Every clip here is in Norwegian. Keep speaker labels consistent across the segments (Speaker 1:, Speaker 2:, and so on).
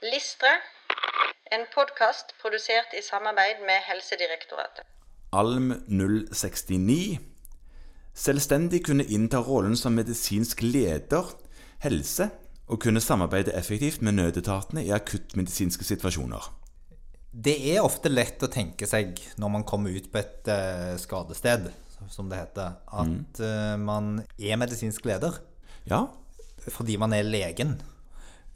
Speaker 1: Listre, en podkast produsert i samarbeid med Helsedirektoratet.
Speaker 2: Alm 069. Selvstendig kunne innta rollen som medisinsk leder, helse, og kunne samarbeide effektivt med nødetatene i akuttmedisinske situasjoner.
Speaker 3: Det er ofte lett å tenke seg når man kommer ut på et eh, skadested, som det heter, at eh, man er medisinsk leder
Speaker 2: Ja,
Speaker 3: fordi man er legen.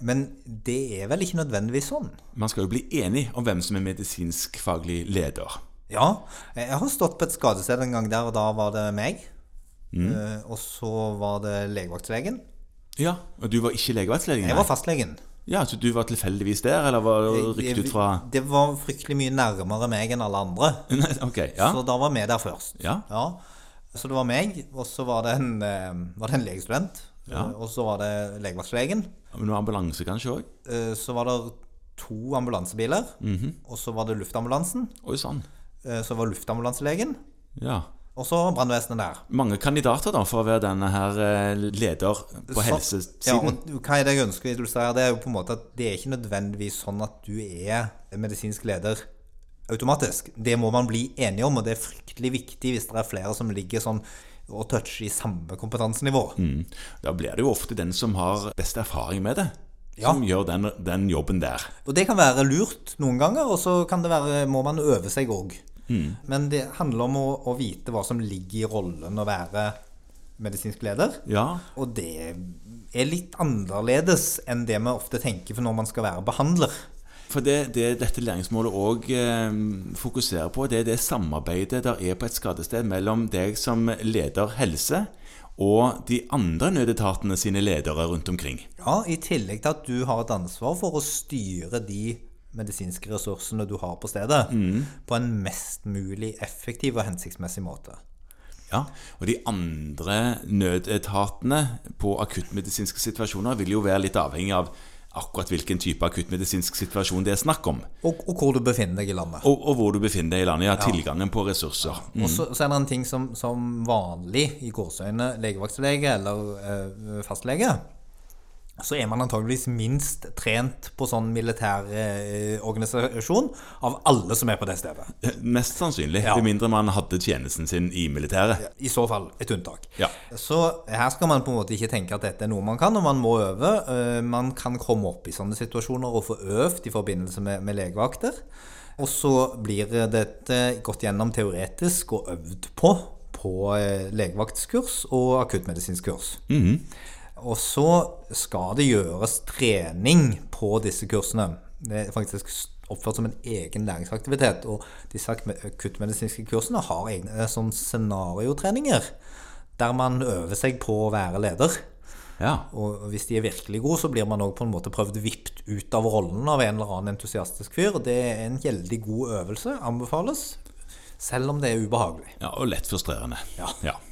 Speaker 3: Men det er vel ikke nødvendigvis sånn?
Speaker 2: man skal jo bli enig om hvem som er medisinsk faglig leder.
Speaker 3: Ja, jeg har stått på et skadested en gang der, og da var det meg. Eh, og så var det legevaktslegen.
Speaker 2: Ja, og du var ikke legevaktslegen?
Speaker 3: Jeg
Speaker 2: nei?
Speaker 3: var fastlegen.
Speaker 2: Ja, så du var tilfeldigvis der, eller var det rykt ut fra
Speaker 3: Det var fryktelig mye nærmere meg enn alle andre.
Speaker 2: Nei, Ok, ja.
Speaker 3: Så da var vi der først.
Speaker 2: Ja.
Speaker 3: Så det var meg, og så var det en, eh, var det en legestudent. eh,
Speaker 2: Ja.
Speaker 3: Og så var det legevaktslegen.
Speaker 2: Men noe ambulanse kanskje òg?
Speaker 3: Eh, Så var det to ambulansebiler.
Speaker 2: Mhm.
Speaker 3: Og så var det luftambulansen.
Speaker 2: Oi sann.
Speaker 3: Eh, Så var luftambulanselegen.
Speaker 2: Ja.
Speaker 3: Og så brannvesenet der.
Speaker 2: Mange kandidater da for å være denne her eh, leder på
Speaker 3: Så- Ja,
Speaker 2: helsesiden.
Speaker 3: og hva er det jeg ønsker å illustrere? Det er jo på en måte at det er ikke nødvendigvis sånn at du er medisinsk leder automatisk. Det må man bli enige om, og det er fryktelig viktig hvis det er flere som ligger sånn og toucher i samme kompetansenivå.
Speaker 2: Mm. Da blir det jo ofte den som har best erfaring med det,
Speaker 3: Ja.
Speaker 2: som gjør den, den jobben der.
Speaker 3: Og det kan være lurt noen ganger, og så kan det være, må man øve seg òg. Men det handler om å, å vite hva som ligger i rollen å være medisinsk leder.
Speaker 2: Ja.
Speaker 3: Og det er litt annerledes enn det vi ofte tenker for når man skal være behandler.
Speaker 2: For det, det dette læringsmålet òg eh, fokuserer på, det er det samarbeidet der er på et skadested mellom deg som leder helse, og de andre nødetatene sine ledere rundt omkring.
Speaker 3: Ja, I tillegg til at du har et ansvar for å styre de medisinske ressursene du har på stedet, på en mest mulig effektiv og hensiktsmessig måte.
Speaker 2: Ja, og de andre nødetatene på akuttmedisinske situasjoner vil jo være litt avhengig av akkurat hvilken type akuttmedisinsk situasjon det er snakk om,
Speaker 3: Og, og hvor du befinner deg i landet.
Speaker 2: og, og hvor du befinner deg i landet, ja, tilgangen på ressurser.
Speaker 3: Og så, så er det en ting som, som vanlig i gårsøgne legevaktlege eller eh, fastlege, så er man antageligvis minst trent på sånn militær eh, organisasjon av alle som er på det stedet.
Speaker 2: Mest sannsynlig,
Speaker 3: Ja.
Speaker 2: med mindre man hadde tjenesten sin i militæret.
Speaker 3: I så fall et unntak.
Speaker 2: Ja.
Speaker 3: Så her skal man på en måte ikke tenke at dette er noe man kan, og man må øve. Eh, Man kan komme opp i sånne situasjoner og få øvd i forbindelse med, med legevakter. Og så blir dette gått gjennom teoretisk og øvd på på eh, legevaktskurs og akuttmedisinsk kurs. Og så skal det gjøres trening på disse kursene. Det er faktisk oppført som en egen læringsaktivitet. Og disse akme- akuttmedisinske kursene har egne sånn scenariotreninger. Der man øver seg på å være leder.
Speaker 2: Ja.
Speaker 3: Og hvis de er virkelig gode, så blir man òg på en måte prøvd vippet ut av rollen av en eller annen entusiastisk fyr. Det er en veldig god øvelse. Anbefales. Selv om det er ubehagelig.
Speaker 2: ja, og lett frustrerende.
Speaker 3: Ja.
Speaker 2: ja.